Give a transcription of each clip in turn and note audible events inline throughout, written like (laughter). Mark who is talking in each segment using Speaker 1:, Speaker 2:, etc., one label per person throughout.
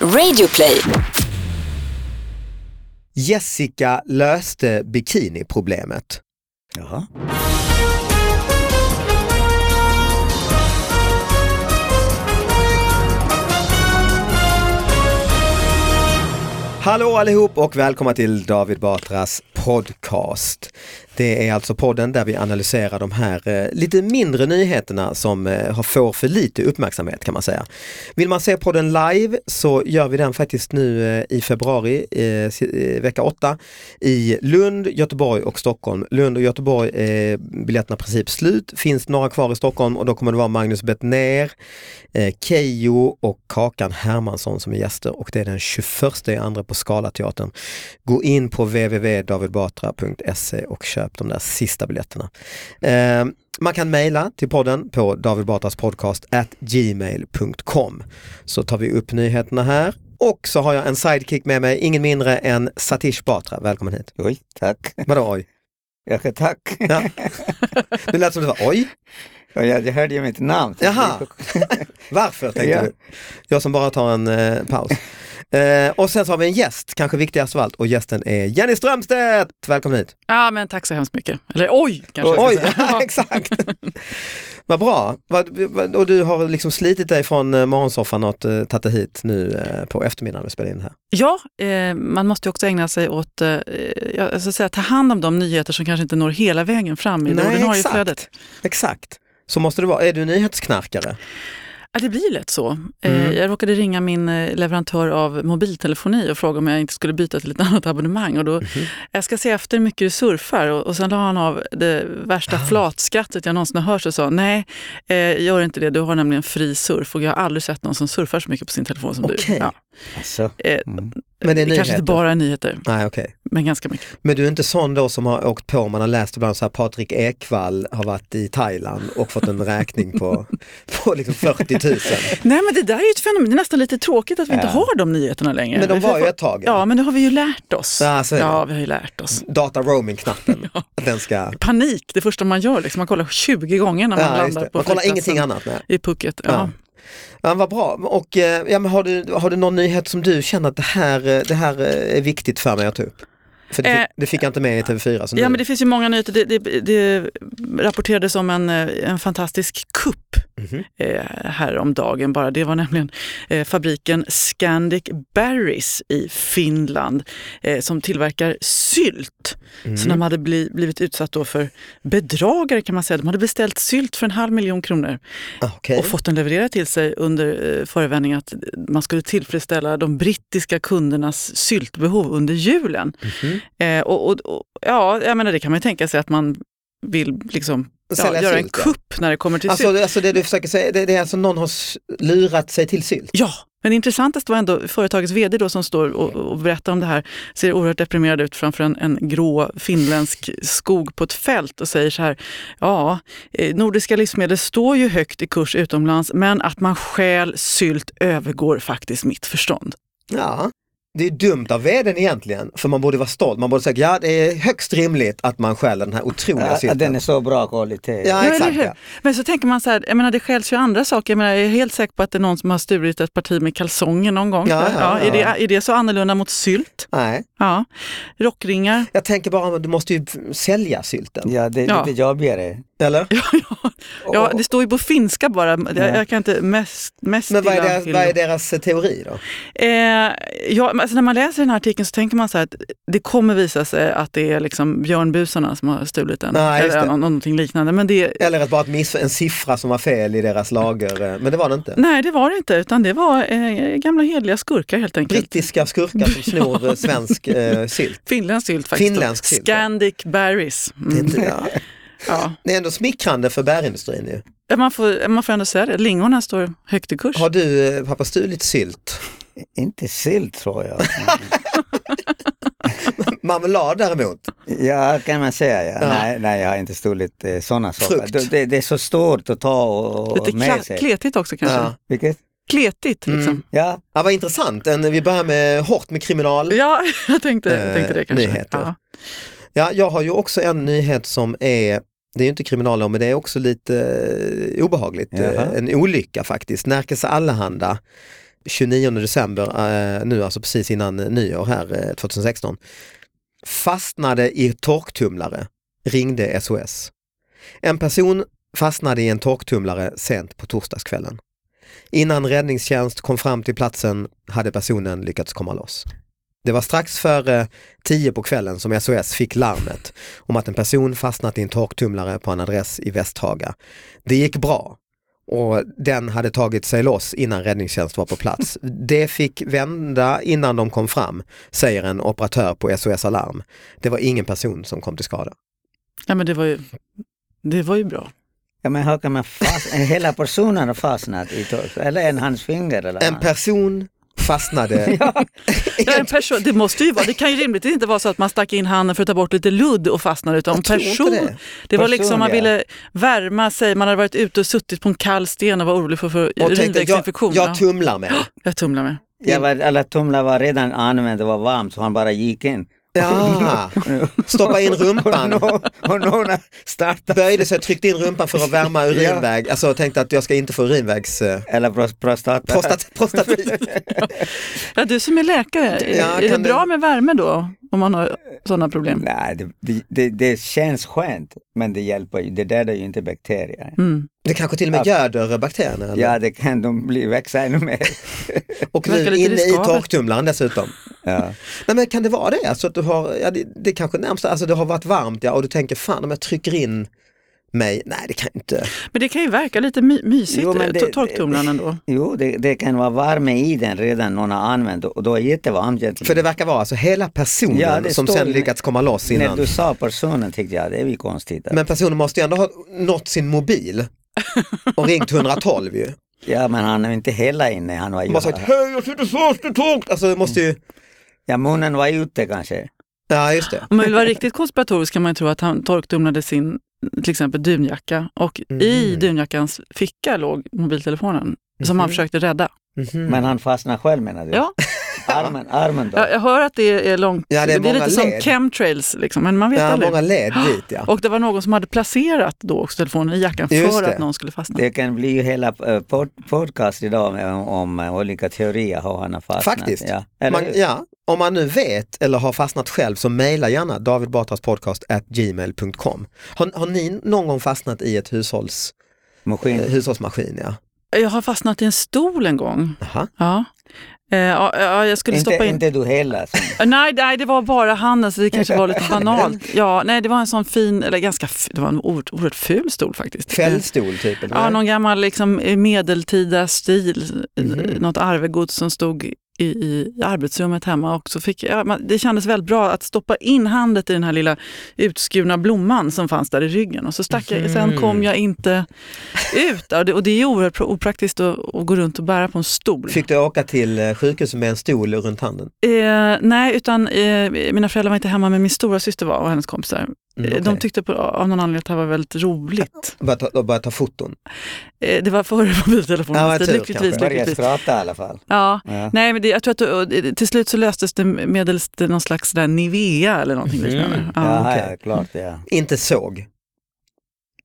Speaker 1: Radioplay.
Speaker 2: Jessica löste bikiniproblemet.
Speaker 3: Jaha.
Speaker 2: Hallå allihop och välkomna till David Batras podcast. Det är alltså podden där vi analyserar de här eh, lite mindre nyheterna som eh, har- får för lite uppmärksamhet kan man säga. Vill man se podden live så gör vi den faktiskt nu eh, i februari, eh, si- eh, vecka 8, i Lund, Göteborg och Stockholm. Lund och Göteborg är biljetterna i princip slut, finns några kvar i Stockholm och då kommer det vara Magnus Bettner, eh, Keyyo och Kakan Hermansson som är gäster och det är den 21 i andra på Scalateatern. Gå in på www.davidbatra.se och köp de där sista biljetterna. Eh, man kan mejla till podden på davidbatraspodcast@gmail.com så tar vi upp nyheterna här. Och så har jag en sidekick med mig, ingen mindre än Satish Batra. Välkommen hit.
Speaker 3: Oj, tack. (laughs)
Speaker 2: Vadå oj?
Speaker 3: Jag ska tack.
Speaker 2: Ja. Det lät som det var oj.
Speaker 3: Ja, Jag jag hörde ju mitt namn.
Speaker 2: Jaha. Varför tänkte
Speaker 3: Ja.
Speaker 2: du? Jag som bara tar en eh, paus. Eh, och sen så har vi en gäst, kanske viktigast av allt, och gästen är Jenny Strömstedt! Välkommen hit!
Speaker 4: Ja, men tack så hemskt mycket. Eller oj, kanske jag
Speaker 2: Oj, (laughs)
Speaker 4: ska säga. Ja.
Speaker 2: exakt! Vad bra! Vad- vad- Och du har liksom slitit dig från eh, morgonsoffan och eh, tagit dig hit nu eh, på eftermiddagen och spelat in det här.
Speaker 4: Ja, eh, man måste ju också ägna sig åt, eh, ja, jag ska säga, ta hand om de nyheter som kanske inte når hela vägen fram i
Speaker 2: Nej,
Speaker 4: det ordinarie
Speaker 2: exakt.
Speaker 4: flödet.
Speaker 2: Exakt! Så måste det vara. Är du nyhetsknarkare?
Speaker 4: Ja, det blir lätt så.
Speaker 2: Mm.
Speaker 4: Eh, jag råkade ringa min eh, leverantör av mobiltelefoni och fråga om jag inte skulle byta till ett (laughs) annat abonnemang. Och då,
Speaker 2: Mhm.
Speaker 4: Jag ska se efter hur mycket du surfar och, och sen la han av det värsta
Speaker 2: Ah.
Speaker 4: flatskrattet jag någonsin har hört och sa nej, eh, gör inte det, du har nämligen fri surf och jag har aldrig sett någon som surfar så mycket på sin telefon som
Speaker 2: Okej.
Speaker 4: du. Ja.
Speaker 3: Alltså,
Speaker 4: Eh,
Speaker 3: mm.
Speaker 2: Men det är
Speaker 4: kanske
Speaker 2: nyheter?
Speaker 4: inte bara är nyheter,
Speaker 2: Nej, okej.
Speaker 4: men ganska mycket.
Speaker 2: Men du är inte sån då som har åkt på, man har läst ibland så här Patrik Ekwall har varit i Thailand och fått en räkning
Speaker 4: (laughs)
Speaker 2: på, på liksom 40 000.
Speaker 4: Nej men det där är ju ett fenomen, det är nästan lite tråkigt att vi inte
Speaker 3: Ja.
Speaker 4: har de nyheterna längre.
Speaker 2: Men de
Speaker 4: Vi
Speaker 2: var ju
Speaker 4: får-
Speaker 2: ett tag.
Speaker 4: Ja, men det har vi ju lärt oss.
Speaker 2: Ja, så är det.
Speaker 4: ja vi har ju lärt oss.
Speaker 2: Data roaming-knappen, att den ska...
Speaker 4: Panik, det första man gör, liksom. man kollar 20 gånger när man
Speaker 2: Ja, just
Speaker 4: landar
Speaker 2: det.
Speaker 4: på
Speaker 2: Man kollar
Speaker 4: flygplatsen
Speaker 2: ingenting annat. Nej.
Speaker 4: I pucket. Ja.
Speaker 2: Ja. Ja, vad bra. Och, eh, ja, men har, du, har du någon nyhet som du känner att det här, eh, det här eh, är viktigt för mig att ta upp? För det,
Speaker 4: Eh,
Speaker 2: fick, det fick jag inte med i TV4. Så
Speaker 4: Ja,
Speaker 2: alltså nu-
Speaker 4: men det finns ju många nyheter. Det, det, det rapporterades om en, eh, en fantastisk kupp
Speaker 2: Mhm.
Speaker 4: eh, här om dagen bara. Det var nämligen eh, fabriken Scandic Berries i Finland eh, som tillverkar sylt.
Speaker 2: Mhm.
Speaker 4: Så de hade bli, blivit utsatt då för bedragare kan man säga. De hade beställt sylt för en halv miljon kronor
Speaker 2: Ah, okej.
Speaker 4: och fått den levererad till sig under eh, förevändning att man skulle tillfredsställa de brittiska kundernas syltbehov under julen.
Speaker 2: Mhm.
Speaker 4: Eh, och, och, och, ja, jag menar, det kan man ju tänka sig att man vill liksom, ja,
Speaker 2: Sälja
Speaker 4: göra
Speaker 2: sylt, ja.
Speaker 4: en kupp när det kommer till sylt.
Speaker 2: Alltså, alltså det du försöker säga, det, det är alltså någon har s- lurat sig till sylt?
Speaker 4: Ja, men intressantast var ändå företagets vd då som står och, och berättar om det här, ser oerhört deprimerad ut framför en, en grå finländsk skog på ett fält och säger så här, ja, eh, nordiska livsmedel står ju högt i kurs utomlands, men att man stjäl sylt övergår faktiskt mitt förstånd.
Speaker 2: Ja, det är dumt av vdn egentligen, för man borde vara stolt. Man borde säga, ja det är högst rimligt att man stjäl den här otroliga
Speaker 3: ja,
Speaker 2: sylten.
Speaker 3: den är så bra kvalitet.
Speaker 2: Ja,
Speaker 4: eller
Speaker 2: exakt.
Speaker 4: hur?
Speaker 2: Ja.
Speaker 4: Men så tänker man så här, jag menar det stjäls ju andra saker. Jag, menar, jag är helt säker på att det är någon som har stulit ett parti med kalsonger någon gång.
Speaker 2: Ja, ja,
Speaker 4: Är,
Speaker 2: ja.
Speaker 4: det, är det så annorlunda mot sylt?
Speaker 2: Nej,
Speaker 4: Ja. Rockringar?
Speaker 2: jag tänker bara, men du måste ju f- sälja sylten.
Speaker 3: Ja, det är
Speaker 4: Ja.
Speaker 3: lite jobbigare.
Speaker 2: Eller?
Speaker 4: Ja, det står ju på finska bara. Jag, jag kan inte mest, mest
Speaker 2: Men vad är,
Speaker 4: illa
Speaker 2: deras,
Speaker 4: till-
Speaker 2: vad är deras eh, teori då?
Speaker 4: Eh, ja, men alltså när man läser den här artikeln så tänker man så här att det kommer visa sig att det är liksom björnbusarna som har stulit den.
Speaker 2: Ja, just
Speaker 4: eller
Speaker 2: det.
Speaker 4: nå- någonting liknande. Men det,
Speaker 2: Eller att bara ett miss, en siffra som var fel i deras lager, eh, men det var det inte.
Speaker 4: nej, det var det inte. Utan det var eh, gamla hederliga skurkar helt enkelt.
Speaker 2: Brittiska skurkar som snor eh, svensk eh, sylt.
Speaker 4: Finländsk sylt faktiskt.
Speaker 2: Finländsk sylt, ja.
Speaker 4: Scandic berries. Mm.
Speaker 2: Det är, inte, ja.
Speaker 4: Ja.
Speaker 2: det är ändå smickrande för bärindustrin ju.
Speaker 4: Ja, Man, får, man får ändå säga det, lingonen står högt i kurs.
Speaker 2: Har du eh, pappa stulit sylt?
Speaker 3: Inte sill
Speaker 2: (laughs)
Speaker 3: tror jag.
Speaker 2: Marmelad däremot?
Speaker 3: Ja, kan man säga. Ja.
Speaker 2: Ja.
Speaker 3: Nej, nej, jag har inte stulit eh, sådana saker.
Speaker 2: Frukt.
Speaker 3: Det- Det, det är så stort att ta och, och
Speaker 4: Lite
Speaker 3: med
Speaker 4: kla-
Speaker 3: sig.
Speaker 4: kletigt också kanske.
Speaker 2: Ja. Mm.
Speaker 3: Vilket?
Speaker 4: Kletigt liksom.
Speaker 3: Ja,
Speaker 2: Ja, vad intressant. En, vi börjar med hårt med kriminal.
Speaker 4: Ja, (laughs) jag tänkte, jag tänkte
Speaker 2: Eh,
Speaker 4: det kanske.
Speaker 2: nyheter.
Speaker 4: Ja.
Speaker 2: Ja, jag har ju också en nyhet som är, det är ju inte kriminal men det är också lite eh, obehagligt.
Speaker 3: Jaha.
Speaker 2: Eh, En olycka faktiskt. Närkes Allehanda 29 december, eh, nu alltså precis innan eh, nyår här eh, 2016, fastnade i torktumlare, ringde SOS. En person fastnade i en torktumlare sent på torsdagskvällen. Innan räddningstjänst kom fram till platsen hade personen lyckats komma loss. Det var strax före 10 på kvällen som SOS fick larmet om att en person fastnat i en torktumlare på en adress i Västhaga. Det gick bra och den hade tagit sig loss innan räddningstjänst var på plats. Det fick vända innan de kom fram, säger en operatör på SOS Alarm. Det var ingen person som kom till skada.
Speaker 4: Ja, men det var ju, det var ju bra.
Speaker 3: Ja, men hur kan man fastna? (laughs) Hela personen har fastnat i tork. Eller en hans finger eller
Speaker 2: En
Speaker 3: vad?
Speaker 2: person fastnade.
Speaker 4: (laughs)
Speaker 2: (laughs)
Speaker 4: Ja, en person, det måste ju vara, det kan ju rimligtvis inte vara så att man stack in handen för att ta bort lite ludd och fastnade utan
Speaker 2: tror inte
Speaker 4: person.
Speaker 2: det.
Speaker 4: Det. var
Speaker 3: Person,
Speaker 4: liksom, man
Speaker 3: ja.
Speaker 4: ville värma sig, man hade varit ute och suttit på en kall sten och var orolig för, för
Speaker 2: Och tänkte,
Speaker 4: urinvägsinfektion.
Speaker 2: jag,
Speaker 4: Jag,
Speaker 2: jag tumlar mig.
Speaker 4: jag tumlar mig.
Speaker 3: Jag var, alla tumlar var redan använda, det var varmt så han bara gick in.
Speaker 2: Ja. Stoppa in rumpan,
Speaker 3: (laughs) Och, och någon startade.
Speaker 2: böjde sig, tryckte in rumpan för att värma urinväg. Alltså jag tänkte att jag ska inte få urinvägs... eh,
Speaker 3: Eller pros- prostata. (laughs)
Speaker 2: Prostat, prostatit.
Speaker 4: Ja, du som är läkare, är-
Speaker 2: Ja,
Speaker 4: är det
Speaker 2: kan du-
Speaker 4: bra med värme då om man har sådana problem?
Speaker 3: Nej, det- det, det, det känns skönt, men det hjälper ju. Det dödar ju inte bakterier.
Speaker 4: Mm.
Speaker 2: Det kanske till och med göder bakterierna. eller?
Speaker 3: Ja, det kan de bli, växa ännu mer.
Speaker 2: och nu
Speaker 4: verkar lite
Speaker 2: inne i
Speaker 4: riskabelt.
Speaker 2: torktumlaren dessutom.
Speaker 3: Ja.
Speaker 2: Nej men kan det vara det? Alltså att du har, ja, det, det kanske närmast, alltså det har varit varmt ja, och du tänker fan om jag trycker in mig, nej det kan jag inte.
Speaker 4: Men det kan ju verka lite my- mysigt,
Speaker 3: Jo, men det-
Speaker 4: to- torktumlaren ändå.
Speaker 3: Jo, det, det kan vara värme i den redan någon har använt och då är det jättevarmt.
Speaker 2: För det verkar vara alltså hela personen
Speaker 3: Ja, det
Speaker 2: som
Speaker 3: står
Speaker 2: sen
Speaker 3: ju-
Speaker 2: lyckats komma loss
Speaker 3: När
Speaker 2: innan.
Speaker 3: du sa personen tyckte jag det är ju konstigt.
Speaker 2: Men personen måste ju ändå ha nått sin
Speaker 3: (laughs)
Speaker 2: mobil och ringt 112 ju.
Speaker 3: Ja, men han är inte hela inne. Han var
Speaker 2: Och bara
Speaker 3: ju,
Speaker 2: sagt hej jag sitter fast i tork. Alltså det måste ju,
Speaker 3: ja, munnen var ute kanske.
Speaker 2: ja just det.
Speaker 4: Om man vill vara riktigt konspiratorisk kan man ju tro att han torktumlade sin till exempel dunjacka och i
Speaker 2: Mm.
Speaker 4: dunjackans ficka låg mobiltelefonen som han
Speaker 2: Mhm.
Speaker 4: försökte rädda.
Speaker 2: Mhm.
Speaker 3: Men han fastnade själv menar du?
Speaker 4: Ja.
Speaker 3: (laughs) Armen, armen då?
Speaker 4: Jag, jag hör att det är långt,
Speaker 2: Ja, det är många
Speaker 4: lite som
Speaker 2: led.
Speaker 4: chemtrails, liksom, men man vet
Speaker 2: ja,
Speaker 4: aldrig.
Speaker 2: många led dit ja.
Speaker 4: Och det var någon som hade placerat då också telefonen i jackan
Speaker 2: Just
Speaker 4: för
Speaker 2: det.
Speaker 4: att någon skulle fastna.
Speaker 3: Det kan bli ju hela eh, pod- podcast idag med- om, om eh, olika teorier hur han har fastnat.
Speaker 2: Faktiskt.
Speaker 3: Ja. Eller
Speaker 2: Man,
Speaker 3: hur?
Speaker 2: ja, om man nu vet eller har fastnat själv så mejla gärna davidbatraspodcast.gmail.com. Har, har ni någon gång fastnat i ett hushålls, eh,
Speaker 3: Maskin.
Speaker 2: hushållsmaskin? Ja.
Speaker 4: Jag har fastnat i en stol en gång.
Speaker 2: Aha.
Speaker 4: Ja. Eh, ja, ja, jag skulle
Speaker 3: Inte,
Speaker 4: stoppa in... Eh,
Speaker 3: inte du heller. som-
Speaker 4: Nej, nej, det var bara handen så det kanske
Speaker 2: (laughs)
Speaker 4: var lite banalt. Ja, nej, det var en sån fin, eller ganska, f- det var en oerhört, oerhört ful stol faktiskt.
Speaker 2: Fällstol typ? eller?
Speaker 4: Ja, någon gammal liksom, eh, medeltida stil,
Speaker 2: Mhm.
Speaker 4: mm. något arvegods som stod i, i arbetsrummet hemma. Och så fick, ja, man, det kändes väldigt bra att stoppa in handen i den här lilla utskurna blomman som fanns där i ryggen. Och så stack jag,
Speaker 2: Mhm.
Speaker 4: sen kom jag inte ut. Och det, och det är ju oerhört pro- opraktiskt att, att gå runt och bära på en stol.
Speaker 2: Fick du åka till eh, sjukhuset med en stol runt handen?
Speaker 4: Eh, nej, utan eh, mina föräldrar var inte hemma, men min stora syster var och hennes kompisar.
Speaker 2: Mm,
Speaker 4: Eh, De
Speaker 2: okej.
Speaker 4: tyckte på, av någon anledning att det här var väldigt roligt.
Speaker 2: Och börja ta, och börja ta foton?
Speaker 4: Eh, det var före
Speaker 2: Ja,
Speaker 4: mobiltelefonernas
Speaker 2: vad
Speaker 4: tid,
Speaker 2: tur,
Speaker 4: lyckligtvis.
Speaker 2: kanske.
Speaker 3: Börja
Speaker 4: lyckligtvis.
Speaker 3: skrata i alla fall.
Speaker 4: Ja,
Speaker 3: Ja.
Speaker 4: nej men det, jag tror att och, eh, till slut så löstes det medelst någon slags där Nivea eller någonting liknande. Ja.
Speaker 3: Ja,
Speaker 2: Ah, okej.
Speaker 3: ja, klart ja.
Speaker 2: Inte såg?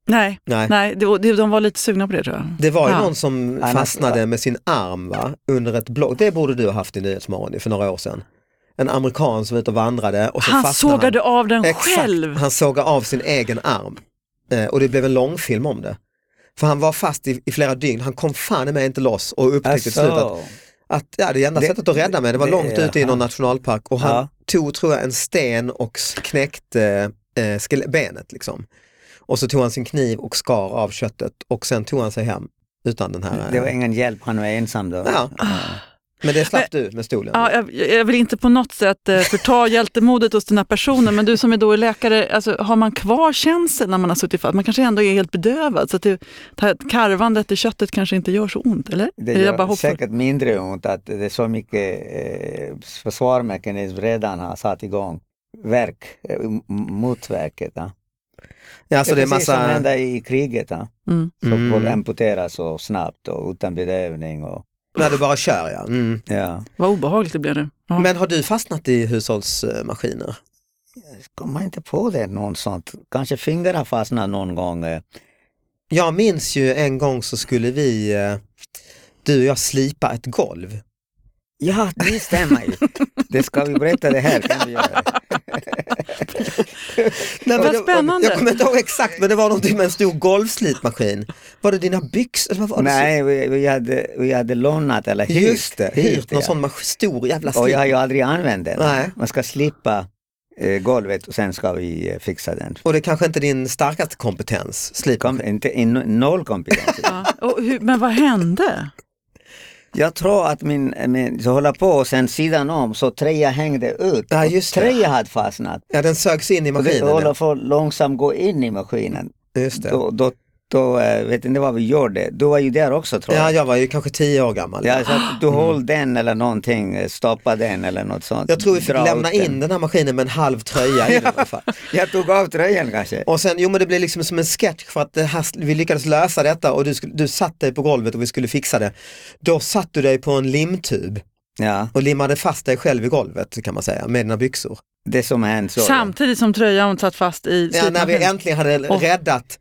Speaker 4: Nej,
Speaker 2: Nej.
Speaker 4: nej det, var- det, de var lite sugna på det tror jag.
Speaker 2: Det var ju
Speaker 4: Ja.
Speaker 2: någon som
Speaker 3: Annars-
Speaker 2: fastnade med sin arm va? under ett block. Det borde du ha haft i Nyhetsmorgon för några år sedan. En amerikan som var ute och vandrade och så
Speaker 4: Han
Speaker 2: fastnade han.
Speaker 4: sågade av den
Speaker 2: Exakt,
Speaker 4: själv.
Speaker 2: han sågade av sin egen arm. Eh, och det blev en långfilm om det. För han var fast i, i flera dygn, han kom fan med inte loss och upptäckte till slut att,
Speaker 3: Alltså,
Speaker 2: att ja, det enda
Speaker 3: Det-
Speaker 2: sättet att rädda mig, det var
Speaker 3: det-
Speaker 2: långt ute i
Speaker 3: ja.
Speaker 2: någon nationalpark och han
Speaker 3: Ja.
Speaker 2: tog, tror jag, en sten och s- knäckte eh, skele- benet liksom. Och så tog han sin kniv och skar av köttet och sen tog han sig hem utan den här. eh,
Speaker 3: Alltså, det var ingen hjälp, han var ensam då.
Speaker 2: ja. Men det slapp du med stolen.
Speaker 4: Ja, jag, jag vill inte på något sätt eh, förta hjältemodet hos den här personen, men du som är då är läkare, alltså, har man kvar känslan när man har suttit fast? Man kanske ändå är helt bedövad, så att det, det här karvandet i köttet kanske inte gör så ont, eller?
Speaker 3: Det
Speaker 4: Är jag
Speaker 3: gör
Speaker 4: bara hoppfull?
Speaker 3: säkert mindre ont att det är så mycket eh, försvarsmekanism redan har satt igång. Verk, eh, m- mot verket. Ja.
Speaker 2: Ja, alltså, det är
Speaker 3: precis som
Speaker 2: massa...
Speaker 3: hände i kriget. Ja.
Speaker 4: Mm.
Speaker 3: Så
Speaker 2: Mm.
Speaker 3: folk amputerar så snabbt och utan bedövning. Och,
Speaker 2: När du bara kör ja. Mm.
Speaker 3: ja.
Speaker 4: Vad obehagligt det blev nu. Ja.
Speaker 2: Men har du fastnat i hushållsmaskiner?
Speaker 3: Kommer inte på det någon sånt. Kanske fingrar har fastnat någon gång. eh.
Speaker 2: Jag minns ju en gång så skulle vi, eh, du och jag slipa ett golv
Speaker 3: Ja, det stämmer
Speaker 2: (laughs)
Speaker 3: ju. Det ska vi berätta det här kan vi göra.
Speaker 2: Nej,
Speaker 4: Vad
Speaker 2: men-
Speaker 4: spännande.
Speaker 2: Jag kommer inte ihåg exakt men det var någonting med en stor golvslitmaskin. Var det dina byxor? Vad var det?
Speaker 3: (laughs) Nej, vi, vi, hade, vi hade lånat eller hyrt.
Speaker 2: Just det, hyrt någon
Speaker 3: ja.
Speaker 2: sån mas- stor jävla
Speaker 3: Och jag har
Speaker 2: slit.
Speaker 3: ju aldrig använt den.
Speaker 2: Nej.
Speaker 3: Man ska slippa eh, golvet och sen ska vi eh, fixa den.
Speaker 2: Och det är kanske inte är din starkaste kompetens, slipmaskin.
Speaker 3: Kom, inte, in, noll (laughs) kompetens.
Speaker 4: Ja. Och hur, men vad hände?
Speaker 3: Jag tror att min, min så hålla på och sen sidan om så tröja hängde ut.
Speaker 2: Ja, just det.
Speaker 3: Tröja hade fastnat.
Speaker 2: Ja, den sögs in i
Speaker 3: Och det
Speaker 2: maskinen.
Speaker 3: håller
Speaker 2: ja.
Speaker 3: på att långsamt gå in i maskinen.
Speaker 2: Just det.
Speaker 3: Då, då, då eh, vet inte vad vi gjorde. Du var ju där också tror
Speaker 2: Ja,
Speaker 3: jag.
Speaker 2: jag Ah. var ju kanske tio år gammal.
Speaker 3: Ja, så att du höll den eller någonting, eh, stoppa den eller något sånt.
Speaker 2: Jag tror vi fick
Speaker 3: Dra
Speaker 2: lämna
Speaker 3: ut den.
Speaker 2: in den här maskinen med en halv tröja i den i alla fall.
Speaker 3: (laughs) Jag tog av tröjan kanske.
Speaker 2: Och sen, jo men det blev liksom som en sketch för att det här, vi lyckades lösa detta och du, skulle- du satt dig på golvet och vi skulle fixa det. Då satt du dig på en limtub
Speaker 3: Ja,
Speaker 2: och limmade fast dig själv i golvet kan man säga med dina byxor.
Speaker 3: det som hände. Så,
Speaker 4: Samtidigt som tröjan satt fast i
Speaker 2: Ja, när vi
Speaker 4: slipmaskinen.
Speaker 2: äntligen hade
Speaker 4: Åh.
Speaker 2: räddat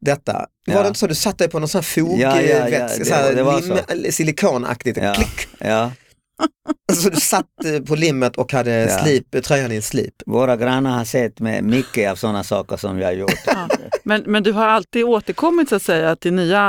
Speaker 2: detta. Var
Speaker 3: Ja.
Speaker 2: det inte så du satt dig på någon sån här fog,
Speaker 3: Ja, ja, ja,
Speaker 2: vätska,
Speaker 3: det-
Speaker 2: så här
Speaker 3: det var
Speaker 2: lim, silikonaktigt,
Speaker 3: Ja.
Speaker 2: klick.
Speaker 3: Ja.
Speaker 2: Så du satt eh, på limmet och hade
Speaker 3: Ja.
Speaker 2: slip, tröjan i en slip.
Speaker 3: Våra grannar har sett med mycket av sådana saker som jag gjort.
Speaker 4: (laughs) Ja. Men, men du har alltid återkommit så att säga till nya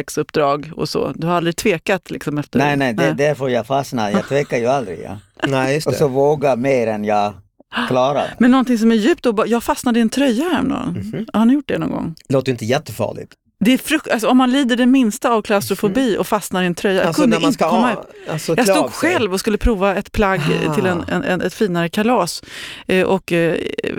Speaker 4: hantverksuppdrag och så. Du har aldrig tvekat liksom efter
Speaker 3: Nej, nej, det är därför jag fastnar. Jag tvekar ju aldrig. Ja.
Speaker 2: Nej, just
Speaker 3: Och så
Speaker 2: det.
Speaker 3: våga mer än jag
Speaker 4: (gasps)
Speaker 3: klarar.
Speaker 4: Men någonting som är djupt obe- Jag fastnade i en tröja häromdagen.
Speaker 2: Mhm.
Speaker 4: Har ni gjort det någon gång?
Speaker 2: Låter ju inte jättefarligt.
Speaker 4: Det är frukt, alltså, om man lider det minsta av klaustrofobi och fastnar i en tröja. Jag
Speaker 2: Mm. Alltså
Speaker 4: kunde
Speaker 2: när man ska
Speaker 4: inte komma
Speaker 2: ha,
Speaker 4: upp.
Speaker 2: alltså,
Speaker 4: Jag
Speaker 2: klä av
Speaker 4: stod
Speaker 2: sig.
Speaker 4: själv och skulle prova ett plagg eh, till en,
Speaker 2: Ah.
Speaker 4: en, en, ett finare kalas eh, och eh,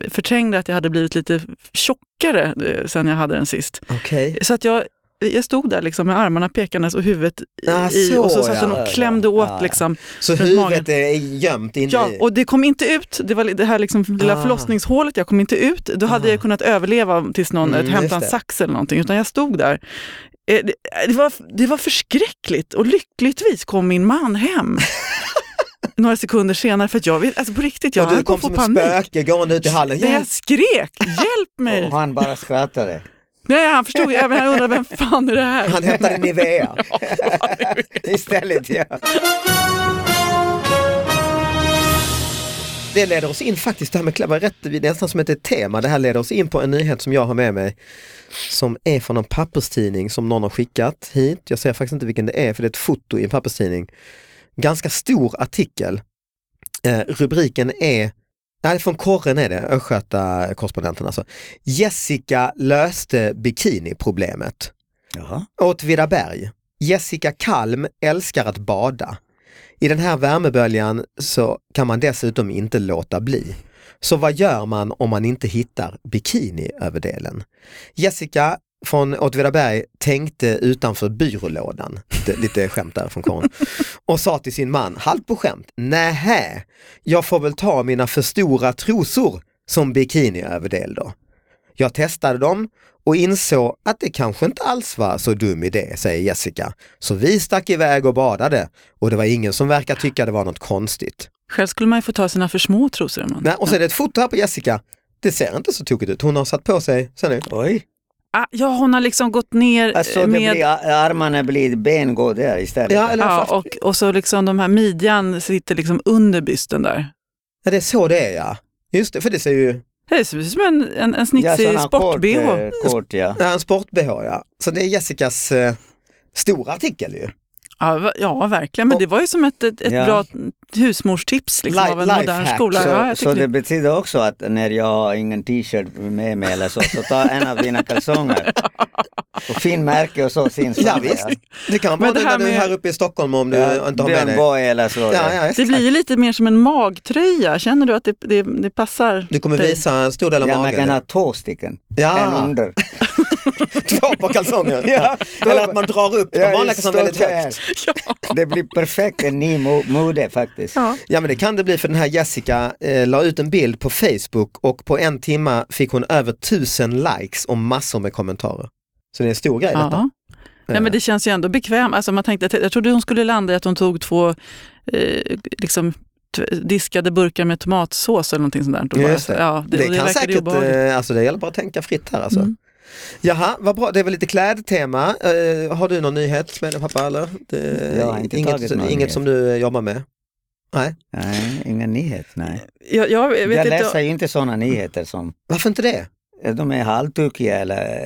Speaker 4: förträngde att jag hade blivit lite tjockare eh, sen jag hade den sist.
Speaker 2: Okej.
Speaker 4: Så att jag, jag stod där liksom med armarna pekandes och huvudet i-
Speaker 2: Ah,
Speaker 4: i
Speaker 2: så,
Speaker 4: och så satt
Speaker 2: ja, Ah.
Speaker 4: den
Speaker 3: ja,
Speaker 4: och klämde
Speaker 3: ja.
Speaker 4: åt
Speaker 3: Ja, ja.
Speaker 4: liksom.
Speaker 2: Så
Speaker 4: Runt
Speaker 2: huvudet är gömt inne
Speaker 4: Ja,
Speaker 2: i.
Speaker 4: och det kom inte ut. Det var li- det här liksom lilla
Speaker 2: Ah.
Speaker 4: förlossningshålet, jag kom inte ut. Då hade
Speaker 2: Ah.
Speaker 4: jag kunnat överleva tills någon
Speaker 2: Mm,
Speaker 4: mm,
Speaker 2: just
Speaker 4: hämtade
Speaker 2: det.
Speaker 4: en sax eller någonting, utan jag stod där. Eh, Det, det, var, det var förskräckligt och lyckligtvis kom min
Speaker 2: (laughs)
Speaker 4: man hem. Några sekunder senare, för att jag vill, alltså på riktigt, jag
Speaker 2: och du
Speaker 4: höll på
Speaker 2: kom
Speaker 4: att få
Speaker 2: som ett
Speaker 4: panik.
Speaker 2: spöke gående ut i hallen.
Speaker 4: Nej,
Speaker 2: Hjälp!
Speaker 4: jag skrek, hjälp mig!
Speaker 3: Och han bara skrattade.
Speaker 4: Nej, han förstod, även han undrade vem fan är det här?
Speaker 2: Han hämtade Nivea. (laughs)
Speaker 3: Istället ja.
Speaker 2: Det leder oss in faktiskt, det här med kläder, rätt, det är nästan som ett tema. Det här leder oss in på en nyhet som jag har med mig. Som är från en papperstidning som någon har skickat hit. Jag ser faktiskt inte vilken det är för det är ett foto i en papperstidning. Ganska stor artikel. Eh, rubriken är, nej från Korren är det, Östgöta korrespondenten alltså. Jessica löste bikiniproblemet.
Speaker 3: Jaha.
Speaker 2: Åtvidaberg. Jessica Kalm älskar att bada. I den här värmeböljan så kan man dessutom inte låta bli. Så vad gör man om man inte hittar bikiniöverdelen? Jessica från Åtvidaberg tänkte utanför byrålådan, lite, lite skämt där från Karin, och sa till sin man, halvt på skämt, nähä, jag får väl ta mina för stora trosor som bikiniöverdel då. Jag testade dem och insåg att det kanske inte alls var så dum idé, säger Jessica. Så vi stack iväg och badade och det var ingen som verkar tycka det var något konstigt.
Speaker 4: Själv skulle man ju få ta sina för små trosor. Man.
Speaker 2: Nej, och så är det ett foto här på Jessica. Det ser inte så tokigt ut. Hon har satt på sig, ser ni?
Speaker 3: Oj.
Speaker 4: Ah, ja, hon har liksom gått ner
Speaker 3: Alltså det
Speaker 4: eh, med...
Speaker 3: blir, armarna blir ben går där istället.
Speaker 2: Ja, eller
Speaker 4: Ja,
Speaker 2: fast-
Speaker 4: och, och så liksom de här midjan sitter liksom under bysten där.
Speaker 2: ja, det är så det är ja. Just det, för det ser ju,
Speaker 4: Det ser ut som en, en, en
Speaker 3: Ja,
Speaker 4: snitsig
Speaker 3: sådana Kort,
Speaker 4: sport-bh.
Speaker 3: eh, kort, ja.
Speaker 2: det är en sport-bh ja. Så det är Jessicas eh, stora artikel ju.
Speaker 4: Ja, va- ja, verkligen. Men
Speaker 2: Och-
Speaker 4: det var ju som ett, ett, ett
Speaker 3: Ja.
Speaker 4: bra husmorstips liksom,
Speaker 2: Li-
Speaker 4: av en modern
Speaker 2: lifehack.
Speaker 4: skola. ja,
Speaker 3: Så,
Speaker 4: jag
Speaker 3: så
Speaker 4: tycker
Speaker 3: det
Speaker 4: det...
Speaker 3: betyder också att när jag har ingen t-shirt med mig eller så, så ta en av dina kalsonger. Och fin märke och så syns
Speaker 2: Ja,
Speaker 3: man,
Speaker 2: visst. Det kan vara
Speaker 4: Men det
Speaker 2: det när
Speaker 4: här
Speaker 2: du är
Speaker 4: med-
Speaker 2: här uppe i Stockholm om du
Speaker 3: Ja,
Speaker 2: inte har med dig.
Speaker 3: Björn Borg eller så.
Speaker 2: Ja, ja,
Speaker 4: det
Speaker 2: exakt.
Speaker 4: blir ju lite mer som en magtröja. Känner du att det, det, det passar?
Speaker 2: Du kommer
Speaker 4: dig?
Speaker 2: visa en stor del av
Speaker 3: Ja, man
Speaker 2: magen.
Speaker 3: kan ha två stycken. En
Speaker 2: Ja,
Speaker 3: under.
Speaker 2: två par (laughs) kalsonger.
Speaker 3: Ja.
Speaker 2: Eller att man drar upp de
Speaker 3: Ja,
Speaker 2: vanliga
Speaker 3: just
Speaker 2: kalsongerna väldigt
Speaker 3: så här.
Speaker 2: högt.
Speaker 4: Ja.
Speaker 3: Det blir perfekt en ny mo- mode faktiskt.
Speaker 4: Ja.
Speaker 2: Ja men det kan det bli för den här Jessica eh, la ut en bild på Facebook och på en timma fick hon över tusen likes och massor med kommentarer. Så det är en stor grej detta.
Speaker 4: Ja.
Speaker 2: Eh.
Speaker 4: Nej, men det känns ju ändå bekvämt. Alltså, man tänkte, jag trodde hon skulle landa i att hon tog två eh, liksom, t- diskade burkar med tomatsås eller någonting sånt där. Då
Speaker 2: Just
Speaker 4: bara, alltså,
Speaker 2: det.
Speaker 4: Ja, det,
Speaker 2: det,
Speaker 4: och det
Speaker 2: kan
Speaker 4: verkade ju
Speaker 2: säkert,
Speaker 4: obehagligt.
Speaker 2: eh, alltså det gäller bara att tänka fritt här alltså.
Speaker 4: Mm.
Speaker 2: Jaha, vad bra. Det är väl lite klädtema. Eh, har du någon nyhet med dig pappa? Eller? Det,
Speaker 3: Jag har inte tagit
Speaker 2: inget,
Speaker 3: någon
Speaker 2: inget
Speaker 3: nyhet.
Speaker 2: som du eh, jobbar med? Nej,
Speaker 3: Nej, inga nyheter, nej.
Speaker 4: Jag, jag vet
Speaker 3: Jag
Speaker 4: inte,
Speaker 3: läser ju inte sådana nyheter som
Speaker 2: varför inte det?
Speaker 3: de är halvtokiga eller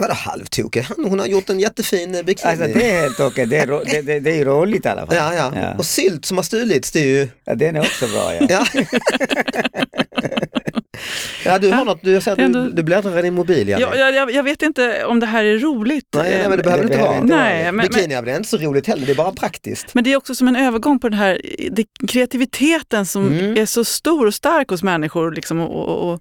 Speaker 2: Vadå halvtokig? Han- Hon har gjort en jättefin eh, bikini.
Speaker 3: Alltså det är helt okej, det är, ro, det, det, det är ju roligt i alla fall.
Speaker 2: ja, ja,
Speaker 3: Ja.
Speaker 2: Och sylt som har stulits, det är ju...
Speaker 3: Ja, den är också bra ja.
Speaker 2: Ja. ja, du har något, du, jag ser att
Speaker 4: Ändå-
Speaker 2: du, du bläddrar i din mobil. Janne.
Speaker 4: jag, jag, jag, jag vet inte om det här är roligt.
Speaker 2: nej, nej, men det
Speaker 4: Eh,
Speaker 2: behöver
Speaker 3: det
Speaker 2: det inte
Speaker 3: behöver
Speaker 2: vara.
Speaker 3: inte
Speaker 4: vara Nej, det. men-
Speaker 2: Bikini är väl inte så roligt heller, det är bara praktiskt.
Speaker 4: Men det är också som en övergång på den här det, kreativiteten som
Speaker 2: Mm.
Speaker 4: är så stor och stark hos människor liksom, och, och, och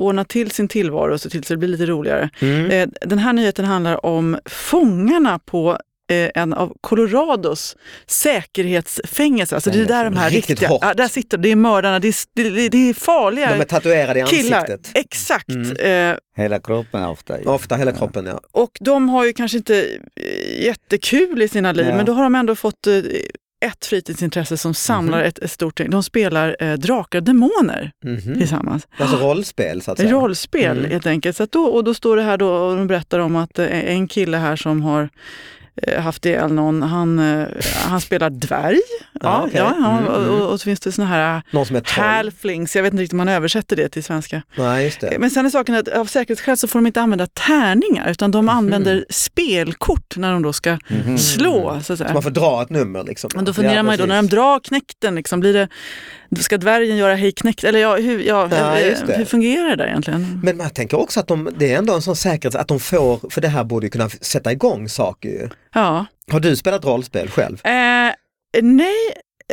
Speaker 4: ordna till sin tillvaro så till så det blir lite roligare.
Speaker 2: Mm.
Speaker 4: Eh, Den här nyheten handlar om fångarna på eh, en av Colorados säkerhetsfängelser. Alltså det är där de här
Speaker 2: Riktigt
Speaker 4: riktiga,
Speaker 2: hårt.
Speaker 4: ja, där sitter det är mördarna, det är, det, det, det är farliga
Speaker 2: De är tatuerade i
Speaker 4: killar.
Speaker 2: ansiktet. Mm.
Speaker 4: Exakt. Eh,
Speaker 3: Hela kroppen ofta. ju.
Speaker 2: Ofta hela kroppen, ja.
Speaker 4: och de har ju kanske inte eh, jättekul i sina liv,
Speaker 3: Nej.
Speaker 4: men då har de ändå fått eh, ett fritidsintresse som samlar ett, ett stort gäng. De spelar eh, drakar och demoner
Speaker 2: Mhm.
Speaker 4: tillsammans.
Speaker 2: Alltså rollspel så att säga.
Speaker 4: Rollspel
Speaker 2: Mm.
Speaker 4: helt enkelt. Så att då, och då står det här då, och de berättar om att eh, en kille här som har eh, haft ihjäl någon, han, eh, han spelar dvärg. Ja,
Speaker 2: Ja, okej.
Speaker 4: ja,
Speaker 2: Mm,
Speaker 4: och,
Speaker 2: mm.
Speaker 4: och, och så finns det såna här eh,
Speaker 2: Någon som är troll.
Speaker 4: halflings, jag vet inte riktigt om man översätter det till svenska.
Speaker 2: Nej, just det.
Speaker 4: Men sen är saken att av säkerhetsskäl så får de inte använda tärningar utan de
Speaker 2: Mhm.
Speaker 4: använder spelkort när de då ska slå. Så att
Speaker 2: Så
Speaker 4: säga.
Speaker 2: Mhm. man får dra ett nummer liksom.
Speaker 4: Men då funderar
Speaker 3: Ja,
Speaker 4: man ju då när de
Speaker 3: precis.
Speaker 4: drar knäkten, liksom, blir det, ska dvärgen göra hej knäckt? Eller ja, hur, ja,
Speaker 2: Ja,
Speaker 4: eh,
Speaker 2: just det.
Speaker 4: hur fungerar det där egentligen?
Speaker 2: Men man tänker också att de, det är ändå en sån säkerhet att de får, för det här borde ju kunna sätta igång saker ju.
Speaker 4: Ja.
Speaker 2: Har du spelat rollspel själv?
Speaker 4: Eh, nej,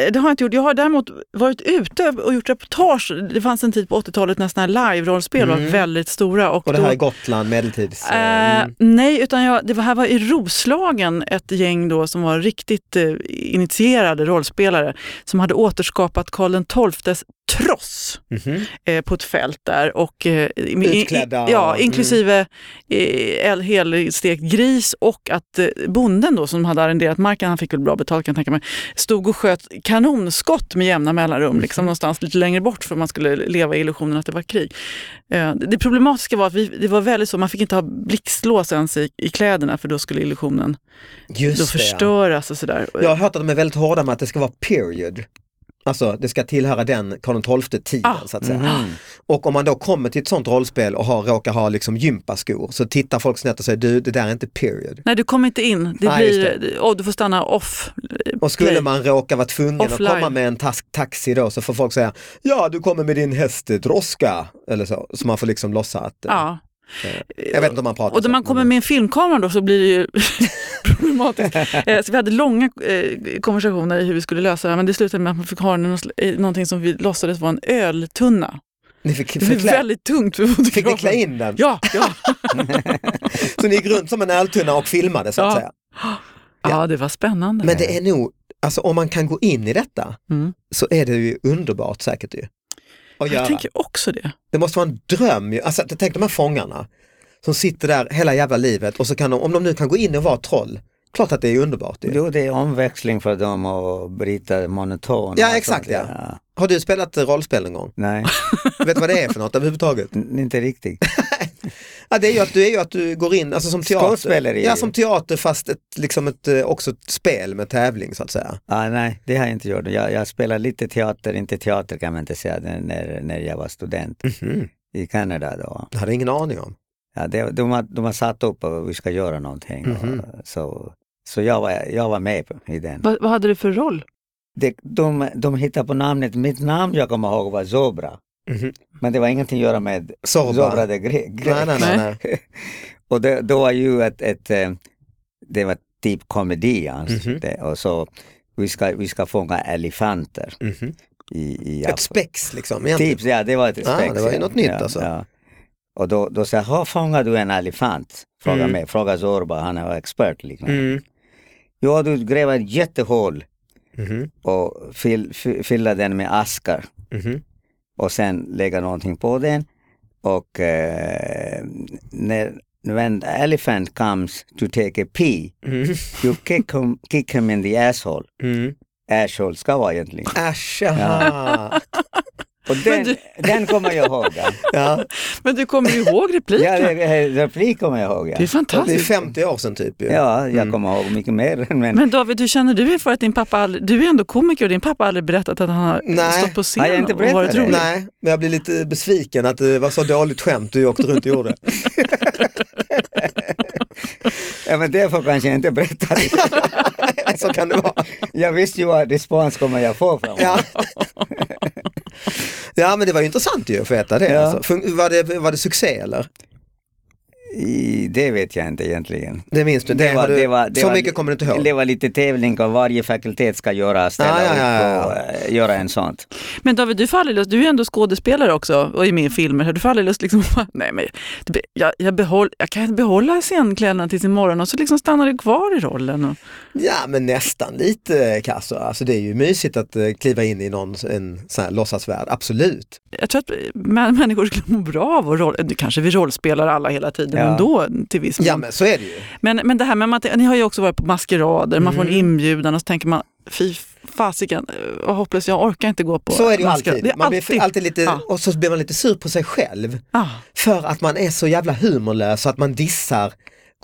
Speaker 4: eh, det har jag inte gjort. Jag har däremot varit ute och gjort reportage. Det fanns en tid på 80-talet när sådana här live-rollspel var väldigt stora. Och
Speaker 2: Mm. Och det
Speaker 4: då,
Speaker 2: här är Gotland, medeltids...
Speaker 4: Eh,
Speaker 2: mm.
Speaker 4: nej, utan jag, det var- här var i Roslagen ett gäng då som var riktigt eh, initierade rollspelare som hade återskapat Karl XIIs tross
Speaker 2: Mhm.
Speaker 4: eh, på ett fält där. Och, eh, i- i-
Speaker 2: Utklädda och-
Speaker 4: ja,
Speaker 2: mm.
Speaker 4: inklusive eh, el- helstekt gris och att eh, bonden då som hade arrenderat marken, han fick väl bra betalt kan jag tänka mig, stod och sköt kanonskott med jämna
Speaker 2: Mm.
Speaker 4: mellanrum, liksom någonstans lite längre bort för man skulle leva i illusionen att det var krig. Eh, Det problematiska var att vi, det var väldigt så, man fick inte ha blixtlås ens i, i kläderna för då skulle illusionen
Speaker 2: Just
Speaker 4: då
Speaker 2: det, ja.
Speaker 4: förstöras och sådär.
Speaker 2: Jag har hört att de är väldigt hårda med att det ska vara period. Alltså det ska tillhöra den Karl XII-tiden
Speaker 4: Ah.
Speaker 2: så att säga. Och om man då kommer till ett sånt rollspel och har, råkar ha liksom gympaskor så tittar folk snett och säger du det där är inte period.
Speaker 4: Nej, du kommer inte in. Det
Speaker 2: Nej, just
Speaker 4: blir, eh, åh, du får stanna off.
Speaker 2: Och skulle
Speaker 4: Play.
Speaker 2: man råka vara tvungen
Speaker 4: Eh, Offline.
Speaker 2: att komma med en tas- taxi då så får folk säga ja du kommer med din häst droska eller så. Så man får liksom låtsas att, eh,
Speaker 4: Ja.
Speaker 2: jag vet inte om man pratar
Speaker 4: Och när man
Speaker 2: så,
Speaker 4: kommer
Speaker 2: men-
Speaker 4: med en filmkamera då så blir det ju (laughs) problematiskt. Eh, Så vi hade långa eh, konversationer i hur vi skulle lösa det här, men det slutade med att man fick ha någon sl- eh, någonting som vi låtsades vara en öltunna.
Speaker 2: Ni fick,
Speaker 4: Det blev
Speaker 2: förklä-
Speaker 4: väldigt tungt för
Speaker 2: fick ni klä
Speaker 4: fotografen.
Speaker 2: in den?
Speaker 4: Ja, ja.
Speaker 2: Så ni gick runt som en öltunna och filmade så att
Speaker 4: Ja.
Speaker 2: säga.
Speaker 4: ja, det var spännande.
Speaker 2: Men det är nog, alltså om man kan gå in i detta
Speaker 4: Mm.
Speaker 2: så är det ju underbart säkert ju. Att göra.
Speaker 4: Jag tänker också det.
Speaker 2: Det måste vara en dröm ju. Alltså tänk de här fångarna som sitter där hela jävla livet och så kan de, om de nu kan gå in och vara troll, klart att det är underbart ju.
Speaker 3: Jo, det är omväxling för dem att bryta monoton.
Speaker 2: Ja,
Speaker 3: och
Speaker 2: exakt,
Speaker 3: sånt,
Speaker 2: ja. Har du spelat eh, rollspel någon gång?
Speaker 3: Nej,
Speaker 2: Vet du vad det är för något överhuvudtaget?
Speaker 3: n- inte
Speaker 2: (laughs)
Speaker 3: riktigt.
Speaker 2: Ja, det är ju att du, är ju att du går in, alltså som teater.
Speaker 3: Skådespeleri.
Speaker 2: Ja, som teater fast ett, liksom ett, eh, också ett spel med tävling så att säga.
Speaker 3: Ah, nej, det har jag inte gjort. Jag, jag spelar lite teater, inte teater kan man inte säga, när- när, när jag var student i Kanada då.
Speaker 2: Det hade jag ingen aning om.
Speaker 3: Ja, det, de, har, de har satt upp att vi ska göra någonting.
Speaker 2: Mhm.
Speaker 3: Och, så så jag, var, jag var med på- i den.
Speaker 4: Vad, vad hade du för roll?
Speaker 3: De, de, de hittade på namnet, mitt namn jag kommer ihåg var Zobra.
Speaker 2: Mhm.
Speaker 3: Men det var ingenting att göra med
Speaker 2: Zorba.
Speaker 3: Zobra the Greek.
Speaker 2: Nej, nej, nej. nej.
Speaker 3: Och det, då var ju ett, ett, eh, det var typ komedi. Alltså.
Speaker 2: Mhm.
Speaker 3: Det, och så vi ska, vi ska fånga elefanter.
Speaker 2: Mhm.
Speaker 3: I, i
Speaker 2: Ett spex liksom. egentligen.
Speaker 3: Tips, ja det var ett
Speaker 2: Ah,
Speaker 3: spex.
Speaker 2: det var ju
Speaker 3: ja.
Speaker 2: något nytt
Speaker 3: ja,
Speaker 2: alltså.
Speaker 3: Ja. Och då, då sa jag, "Har fångar du en elefant? Fråga
Speaker 2: Mm.
Speaker 3: mig, fråga Zorba, han är expert. Liksom.
Speaker 2: Mm.
Speaker 3: Ja, du gräver ett jättehål
Speaker 2: Mhm.
Speaker 3: och fyll, fy- fylla den med askar
Speaker 2: Mhm.
Speaker 3: och sen lägga någonting på den. Och eh, när when the elephant comes to take a pee,
Speaker 2: Mm.
Speaker 3: you kick him, kick him in the asshole.
Speaker 2: Mm.
Speaker 3: Asshole ska vara egentligen.
Speaker 2: Äsch, jaha.
Speaker 3: Och den,
Speaker 4: du-
Speaker 3: den kommer jag ihåg.
Speaker 2: (laughs)
Speaker 3: Ja,
Speaker 2: Ja,
Speaker 4: Men du kommer ju ihåg
Speaker 3: ja
Speaker 4: repliken.
Speaker 3: det- det- replik kommer jag ihåg.
Speaker 4: Det är
Speaker 3: Ja,
Speaker 2: det är
Speaker 4: fantastiskt.
Speaker 2: 50 år sedan typ. ju.
Speaker 3: ja jag
Speaker 2: Mm.
Speaker 3: kommer ihåg mycket mer. (laughs) Men,
Speaker 4: Men David, hur känner du inför att din pappa aldrig, du är ändå komiker och din pappa har aldrig berättat att han har
Speaker 2: Nej.
Speaker 4: stått på
Speaker 3: Har jag
Speaker 4: scen
Speaker 3: inte
Speaker 4: och
Speaker 3: berättat
Speaker 4: varit
Speaker 3: det?
Speaker 4: rolig?
Speaker 2: Nej, men jag blir lite besviken att det var så dåligt skämt du åkte runt och
Speaker 3: (laughs)
Speaker 2: gjorde.
Speaker 3: ja, men därför kanske jag
Speaker 2: (laughs)
Speaker 3: inte berättade.
Speaker 2: så kan det vara.
Speaker 3: jag visste ju vad respons kommer jag få från
Speaker 2: Ja. ja men det var ju intressant ju att få veta det.
Speaker 3: Ja.
Speaker 2: Alltså. Fun- Var, det var det succé eller?
Speaker 3: I, det vet jag inte egentligen.
Speaker 2: Det minns du? Det har du så mycket kommer du inte ihåg?
Speaker 3: Det var lite tävling och varje fakultet ska göra, ställa
Speaker 2: Ja, ja, ja, ja.
Speaker 3: upp och eh, göra en sånt.
Speaker 4: Men David, du, får aldrig lust, du är ändå skådespelare också och är
Speaker 2: Mm.
Speaker 4: med i filmer. så Du får aldrig lust liksom, (laughs) nej men jag, jag, behåll, jag kan behålla scenkläderna tills imorgon och så liksom stannar du kvar i rollen. Och,
Speaker 2: Ja men nästan lite eh, Kasso. Alltså det är ju mysigt att eh, kliva in i någon en sån här låtsasvärld, absolut.
Speaker 4: jag tror att mä- människor skulle må bra av att roll, nu kanske vi rollspelar alla hela tiden
Speaker 3: Ja.
Speaker 4: ändå till viss
Speaker 2: Ja
Speaker 4: mån.
Speaker 2: men så är det ju.
Speaker 4: Men, men det här med att ni har ju också varit på maskerader, man får
Speaker 2: Mm.
Speaker 4: en inbjudan och så tänker man fy fasiken, eh, vad hopplöst, jag orkar inte gå på
Speaker 2: Så är det ju
Speaker 4: maskerad."
Speaker 2: alltid.
Speaker 4: Det är
Speaker 2: Man blir
Speaker 4: alltid.
Speaker 2: för- alltid lite,
Speaker 4: Ja.
Speaker 2: och så blir man lite sur på sig själv.
Speaker 4: Ah,
Speaker 2: För att man är så jävla humorlös så att man dissar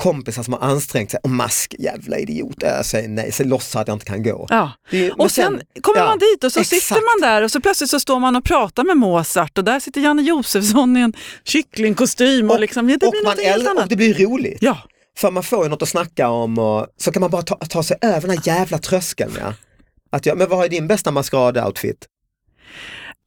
Speaker 2: kompisar som har ansträngt sig och mask, jävla idiot, jag säger nej, så låtsas att jag inte kan gå.
Speaker 4: ja.
Speaker 2: Det är ju- men
Speaker 4: Och sen, kommer
Speaker 2: ja,
Speaker 4: man dit och så sitter
Speaker 2: exakt.
Speaker 4: man där och så plötsligt så står man och pratar med Mozart och där sitter Janne Josefsson i en kycklingkostym och, liksom, det
Speaker 2: och
Speaker 4: blir
Speaker 2: man
Speaker 4: något helt
Speaker 2: äldre, och
Speaker 4: annat.
Speaker 2: det blir roligt.
Speaker 4: Ja,
Speaker 2: För man får ju något att snacka om och så kan man bara ta, ta sig över den här jävla tröskeln. Ja. Att jag, men vad är din bästa maskerad-outfit?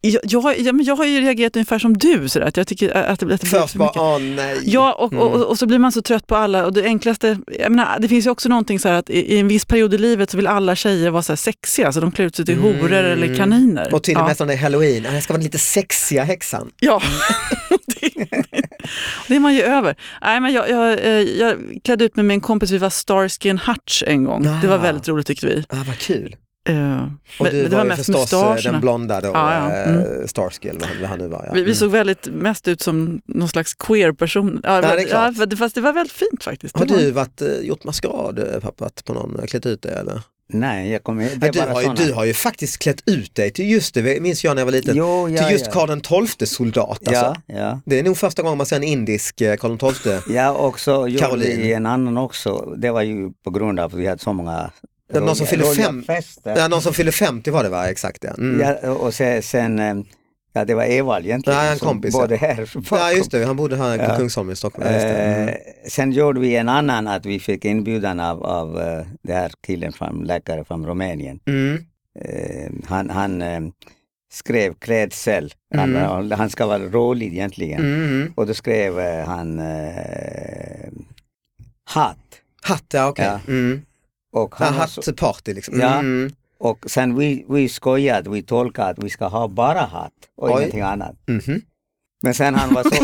Speaker 4: jag, jag, ja, men jag har ju reagerat ungefär som du, sådär, att jag tycker att, att det blir att det blir
Speaker 2: Först
Speaker 4: för
Speaker 2: bara, Mm.
Speaker 4: mycket.
Speaker 2: åh nej.
Speaker 4: Ja, och, och, och så blir man så trött på alla. Och det enklaste, jag menar, det finns ju också någonting så här att i, i en viss period i livet så vill alla tjejer vara så här sexiga, så de klär ut sig till horor eller kaniner.
Speaker 2: Mm. Och till och med
Speaker 4: ja.
Speaker 2: som det är halloween, "Ah, jag ska vara den lite sexiga häxan.
Speaker 4: Ja,
Speaker 2: Mm.
Speaker 4: det, (laughs) det är man ju över. Nej, men jag, jag, eh, jag klädde ut mig med en kompis, vi var Starsky and Hutch en gång.
Speaker 2: Ah.
Speaker 4: Det var väldigt roligt tyckte vi.
Speaker 2: Ah, vad kul.
Speaker 4: Eh,
Speaker 2: Och
Speaker 4: men-
Speaker 2: du
Speaker 4: men
Speaker 2: var, ju förstås eh, den blonda då,
Speaker 4: Ja, ja.
Speaker 2: eh,
Speaker 4: Mm.
Speaker 2: Starsky eller vad han- vad han nu var. Ja.
Speaker 4: Vi, vi
Speaker 2: Mm.
Speaker 4: såg väldigt mest ut som någon slags queer-person. Ja,
Speaker 2: det är
Speaker 4: men-
Speaker 2: klart.
Speaker 4: ja, för- fast det var väldigt fint faktiskt.
Speaker 2: Har
Speaker 4: Det var-
Speaker 2: du varit, eh, gjort maskerad eh, pappa, varit på någon, eh, klätt ut dig eller?
Speaker 3: Nej, jag kommer det
Speaker 2: Ja,
Speaker 3: är
Speaker 2: du,
Speaker 3: bara
Speaker 2: har ju,
Speaker 3: såna.
Speaker 2: du har ju faktiskt klätt ut dig till just det, minns jag när jag var liten,
Speaker 3: Jo, ja,
Speaker 2: till just
Speaker 3: ja.
Speaker 2: Karl XII soldat alltså.
Speaker 3: Ja, ja.
Speaker 2: Det är nog första gången man ser en indisk eh, Karl
Speaker 3: (laughs)
Speaker 2: XII.
Speaker 3: Jag också gjorde
Speaker 2: Caroline.
Speaker 3: i en annan också. Det var ju på grund av att vi hade så många
Speaker 2: Det var någon som fyllde
Speaker 3: roliga
Speaker 2: fem-
Speaker 3: fester.
Speaker 2: Ja, någon som fyllde 50 var det va, exakt ja. Mm. Ja,
Speaker 3: Ja, och sen, sen, eh, ja det var Evald egentligen.
Speaker 2: Ja, en
Speaker 3: som
Speaker 2: kompis, ja.
Speaker 3: Både här
Speaker 2: just det, han bodde här på
Speaker 3: Ja.
Speaker 2: Kungsholmen i Stockholm. Ja, just det. Mm.
Speaker 3: Eh, sen gjorde vi en annan att vi fick inbjudan av, av eh, den här killen, från, läkare från Rumänien.
Speaker 2: Mm.
Speaker 3: Eh, han han eh, skrev klädsel. Han,
Speaker 2: Mm.
Speaker 3: han ska vara rolig egentligen.
Speaker 2: Mm. mm.
Speaker 3: Och då skrev eh, han eh, hatt.
Speaker 2: Hatt, ja okej.
Speaker 3: Ja.
Speaker 2: Mm.
Speaker 3: Och,
Speaker 2: Ja,
Speaker 3: han var så,
Speaker 2: Hattparty liksom.
Speaker 3: Ja.
Speaker 2: Mm.
Speaker 3: och sen vi, vi skojade, vi tolkade att vi ska ha bara hatt och
Speaker 2: Oj.
Speaker 3: ingenting annat.
Speaker 2: Mhm.
Speaker 3: Men sen han
Speaker 2: (laughs)
Speaker 3: var så,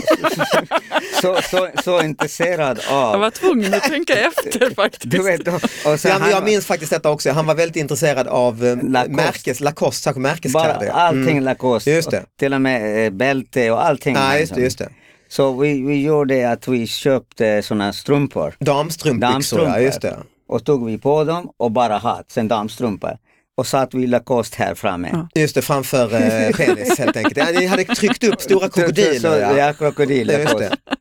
Speaker 3: så, så, så, så intresserad
Speaker 4: Jag var
Speaker 3: av...
Speaker 4: tvungen
Speaker 2: (laughs)
Speaker 4: att tänka efter
Speaker 3: (laughs)
Speaker 4: faktiskt.
Speaker 3: Du vet, och- och sen
Speaker 2: Ja, men
Speaker 3: han
Speaker 2: jag
Speaker 3: var-
Speaker 2: minns faktiskt detta också, han var väldigt intresserad av eh,
Speaker 3: Lacoste.
Speaker 2: märkes, Lacoste, särskilt
Speaker 3: bara
Speaker 2: märkeskläder. Mm. ja.
Speaker 3: allting Lacoste.
Speaker 2: Just det.
Speaker 3: Till och med eh, bälte och allting.
Speaker 2: Ja, just
Speaker 3: liksom.
Speaker 2: det, just det.
Speaker 3: Så vi, vi gjorde att vi köpte sådana strumpor
Speaker 2: Damstrumpbyxor, ja
Speaker 3: Damstrumpor.
Speaker 2: just det.
Speaker 3: och tog vi på dem och bara hatt, sen damstrumpor. Och satt vi Lacoste här framme.
Speaker 4: Ja.
Speaker 2: Just det, framför eh, penis helt enkelt. Ja, ni hade tryckt upp
Speaker 3: (laughs)
Speaker 2: stora
Speaker 3: Så,
Speaker 2: krokodiler.
Speaker 3: så,
Speaker 2: Ja.
Speaker 3: ja, krokodil.
Speaker 2: Ja, just
Speaker 3: Lacoste.
Speaker 2: det.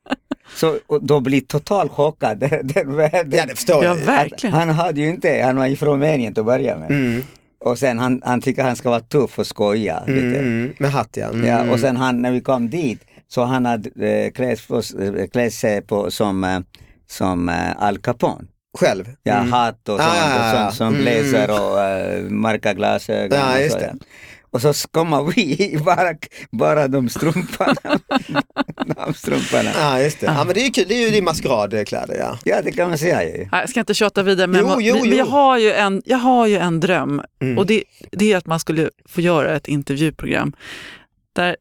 Speaker 3: Så och då blir total chockad. (laughs) Den världen.
Speaker 2: ja, det förstår
Speaker 4: Ja,
Speaker 2: jag.
Speaker 4: verkligen.
Speaker 3: Han hade ju inte, han var ju från Rumänien till att börja med.
Speaker 2: Mm,
Speaker 3: Och sen han, han tycker han ska vara tuff och skoja.
Speaker 2: mm,
Speaker 3: Lite.
Speaker 2: mm, med hatt ja. Mm.
Speaker 3: Ja, och sen han, när vi kom dit så han hade eh, klätt, oss- eh, klätt sig på, som, eh, som eh, Al Capone.
Speaker 2: Själv.
Speaker 3: Ja, hatt och
Speaker 2: Ah,
Speaker 3: sånt,
Speaker 2: ja, ja, ja.
Speaker 3: och sånt som
Speaker 2: Mm.
Speaker 3: blazer och eh, mörka glasögon.
Speaker 2: Ja,
Speaker 3: och,
Speaker 2: just
Speaker 3: så,
Speaker 2: det.
Speaker 3: och så kommer vi i bara, bara de strumporna. (laughs) de strumporna.
Speaker 2: Ja, just det.
Speaker 4: Ah.
Speaker 2: Ja, men det är ju kul, det är ju din maskeradkläder ja.
Speaker 3: Ja, det kan man säga ju.
Speaker 4: Nej, jag ska inte tjata vidare, men
Speaker 2: Jo,
Speaker 4: man-
Speaker 2: jo,
Speaker 4: men
Speaker 2: jo.
Speaker 4: Jag, har ju en, jag har ju en dröm
Speaker 2: Mm.
Speaker 4: och det, det är att man skulle få göra ett intervjuprogram. Där,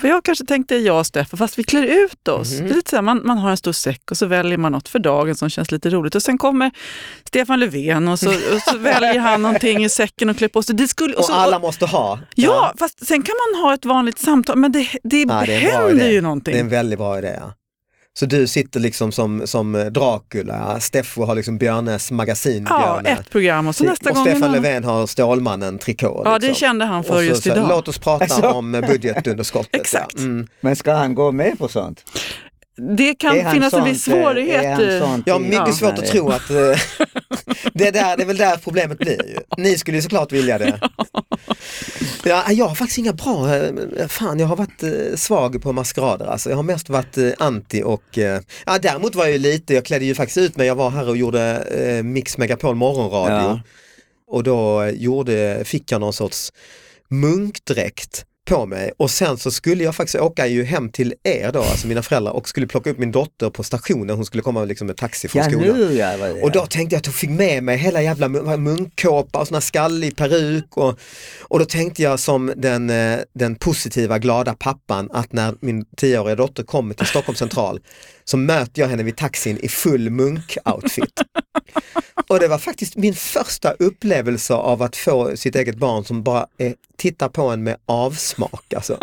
Speaker 4: för jag kanske tänkte jag och Steffe, fast vi klär ut oss.
Speaker 2: Mhm.
Speaker 4: Det är lite så här, man, man har en stor säck och så väljer man något för dagen som känns lite roligt. Och sen kommer Stefan Löfven och så, och så väljer han någonting i säcken och klär på sig. Det skulle,
Speaker 2: Och
Speaker 4: så,
Speaker 2: alla måste ha.
Speaker 4: ja, fast sen kan man ha ett vanligt samtal, men det, det
Speaker 2: Ja, det är en bra
Speaker 4: händer
Speaker 2: idé.
Speaker 4: ju någonting.
Speaker 2: Det är en väldigt bra idé ja. Så du sitter liksom som, som Dracula, Steffo har liksom Björnes magasin.
Speaker 4: Ja,
Speaker 2: Björne.
Speaker 4: ett program och så nästa
Speaker 2: och
Speaker 4: gång... en
Speaker 2: Stefan
Speaker 4: annan.
Speaker 2: Löfven har Stålmannen-trikå.
Speaker 4: Ja, det kände han för
Speaker 2: Och så-
Speaker 4: just
Speaker 2: så,
Speaker 4: idag.
Speaker 2: Låt oss prata
Speaker 3: Alltså.
Speaker 2: om budgetunderskottet. ja.
Speaker 4: (laughs) Exakt.
Speaker 2: Mm.
Speaker 3: Men ska han gå med på sånt?
Speaker 4: Det
Speaker 3: Är
Speaker 4: kan
Speaker 3: han
Speaker 4: finnas en viss
Speaker 3: sånt, eh,
Speaker 4: svårighet.
Speaker 3: är han
Speaker 4: i-
Speaker 3: sånt
Speaker 2: Jag har
Speaker 3: i-
Speaker 2: mycket
Speaker 4: Ja.
Speaker 2: svårt att tro att eh, (laughs) det, är där, det är väl där problemet blir. Ju. Ni skulle ju såklart vilja
Speaker 3: (laughs)
Speaker 2: det. Ja, äh, jag har faktiskt inga bra, eh, fan jag har varit eh, svag på maskerader alltså. Jag har mest varit eh, anti och, eh, ja, däremot var jag ju lite, jag klädde ju faktiskt ut mig, jag var här och gjorde eh, Mix Megapol morgonradio.
Speaker 3: Ja.
Speaker 2: Och då gjorde, fick jag någon sorts munkdräkt på mig och sen så skulle jag faktiskt åka ju hem till er då, alltså mina föräldrar och skulle plocka upp min dotter på stationen, hon skulle komma liksom med taxi från
Speaker 3: Ja,
Speaker 2: skolan.
Speaker 3: nu ja. vad det är.
Speaker 2: Och då tänkte jag att jag fick med mig hela jävla mun- munkkåpa och sån här skallig peruk och, och då tänkte jag som den, eh, den positiva glada pappan att när min tioåriga dotter kommer till Stockholm central så möter jag henne vid taxin i full munk-outfit. Och det var faktiskt min första upplevelse av att få sitt eget barn som bara eh, tittar på en med avsmak. Alltså.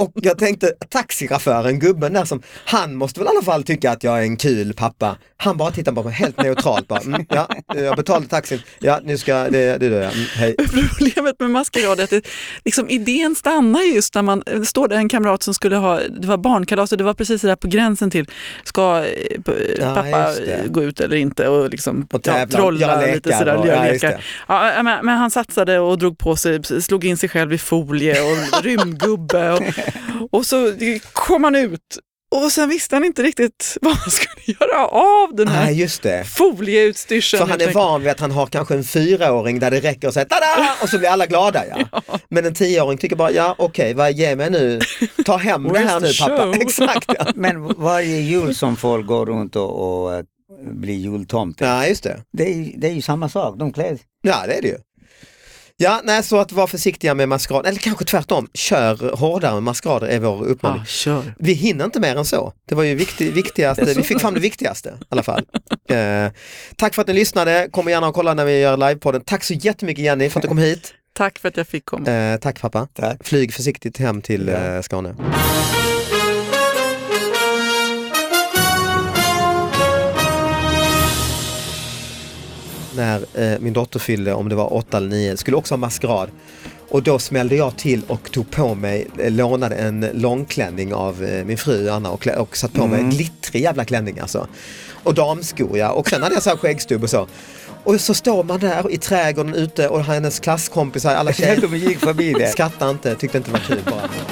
Speaker 2: Och jag tänkte taxichauffören, gubben där som, han måste väl i alla fall tycka att jag är en kul pappa. Han bara tittar på mig helt neutralt bara, mm, ja, jag betalade taxin, ja nu ska, det, det gör jag, mm, hej.
Speaker 4: (laughs) Problemet med maskerad är att det, liksom, idén stannar ju just när man det står där en kamrat som skulle ha, det var barnkalas och det var precis det där på gränsen till, ska eh, p-
Speaker 2: Ja,
Speaker 4: pappa
Speaker 2: just det.
Speaker 4: eh, gå ut eller inte och, liksom,
Speaker 2: Och
Speaker 4: ja,
Speaker 2: tävla,
Speaker 4: trolla
Speaker 2: göra
Speaker 4: lite
Speaker 2: lekar
Speaker 4: sådär,
Speaker 2: och-
Speaker 4: göra
Speaker 2: ja, just
Speaker 4: lekar. Ja, eh, men, men han satsade och drog på sig, slog in sig själv i folie
Speaker 2: (laughs)
Speaker 4: och rymdgubbe och, och så kom han ut och sen visste han inte riktigt (laughs) vad han skulle göra av den här
Speaker 2: Nej just det.
Speaker 4: folieutstyrseln.
Speaker 2: För han
Speaker 4: helt
Speaker 2: är
Speaker 4: enkelt.
Speaker 2: van vid att han har kanske en fyraåring där det räcker att säga tada och så blir alla glada. Ja.
Speaker 4: (laughs)
Speaker 2: Men en tioåring tycker bara, ja okej, vad ge mig nu, ta hem det här
Speaker 4: Where's the
Speaker 2: nu pappa.
Speaker 4: show?
Speaker 2: (laughs) Exakt. Ja.
Speaker 3: Men varje jul som folk går runt och, och eh, blir jultomte,
Speaker 2: ja, just det.
Speaker 3: det, är, ju- det är ju samma sak, de klär
Speaker 2: (laughs) Ja, det är det ju. Ja, nej, så att vara försiktiga med maskerad, eller kanske tvärtom, kör hårdare med maskerader är vår uppmaning.
Speaker 4: Ja, kör.
Speaker 2: Vi hinner inte mer än så. Det var ju viktig, viktigaste, vi fick fram det viktigaste i alla fall. Eh, tack för att ni lyssnade, kom gärna och kolla när vi gör livepodden. Tack så jättemycket Jenny för att du kom hit.
Speaker 4: Tack för att jag fick komma.
Speaker 2: Eh, tack pappa.
Speaker 3: Tack.
Speaker 2: Flyg försiktigt hem till eh, Skåne. När eh, min dotter fyllde, om det var åtta eller nio, skulle också ha maskerad. Och då smällde jag till och tog på mig, eh, lånade en långklänning av eh, min fru Anna och, klä- och satt på mig glittrig jävla klänning alltså. Och damskor ja, och sen hade jag så här skäggstubb och så. Och så står man där i trädgården ute och hennes klasskompisar, alla tjejer
Speaker 3: De gick förbi det.
Speaker 2: Skratta inte, tyckte inte det var kul bara.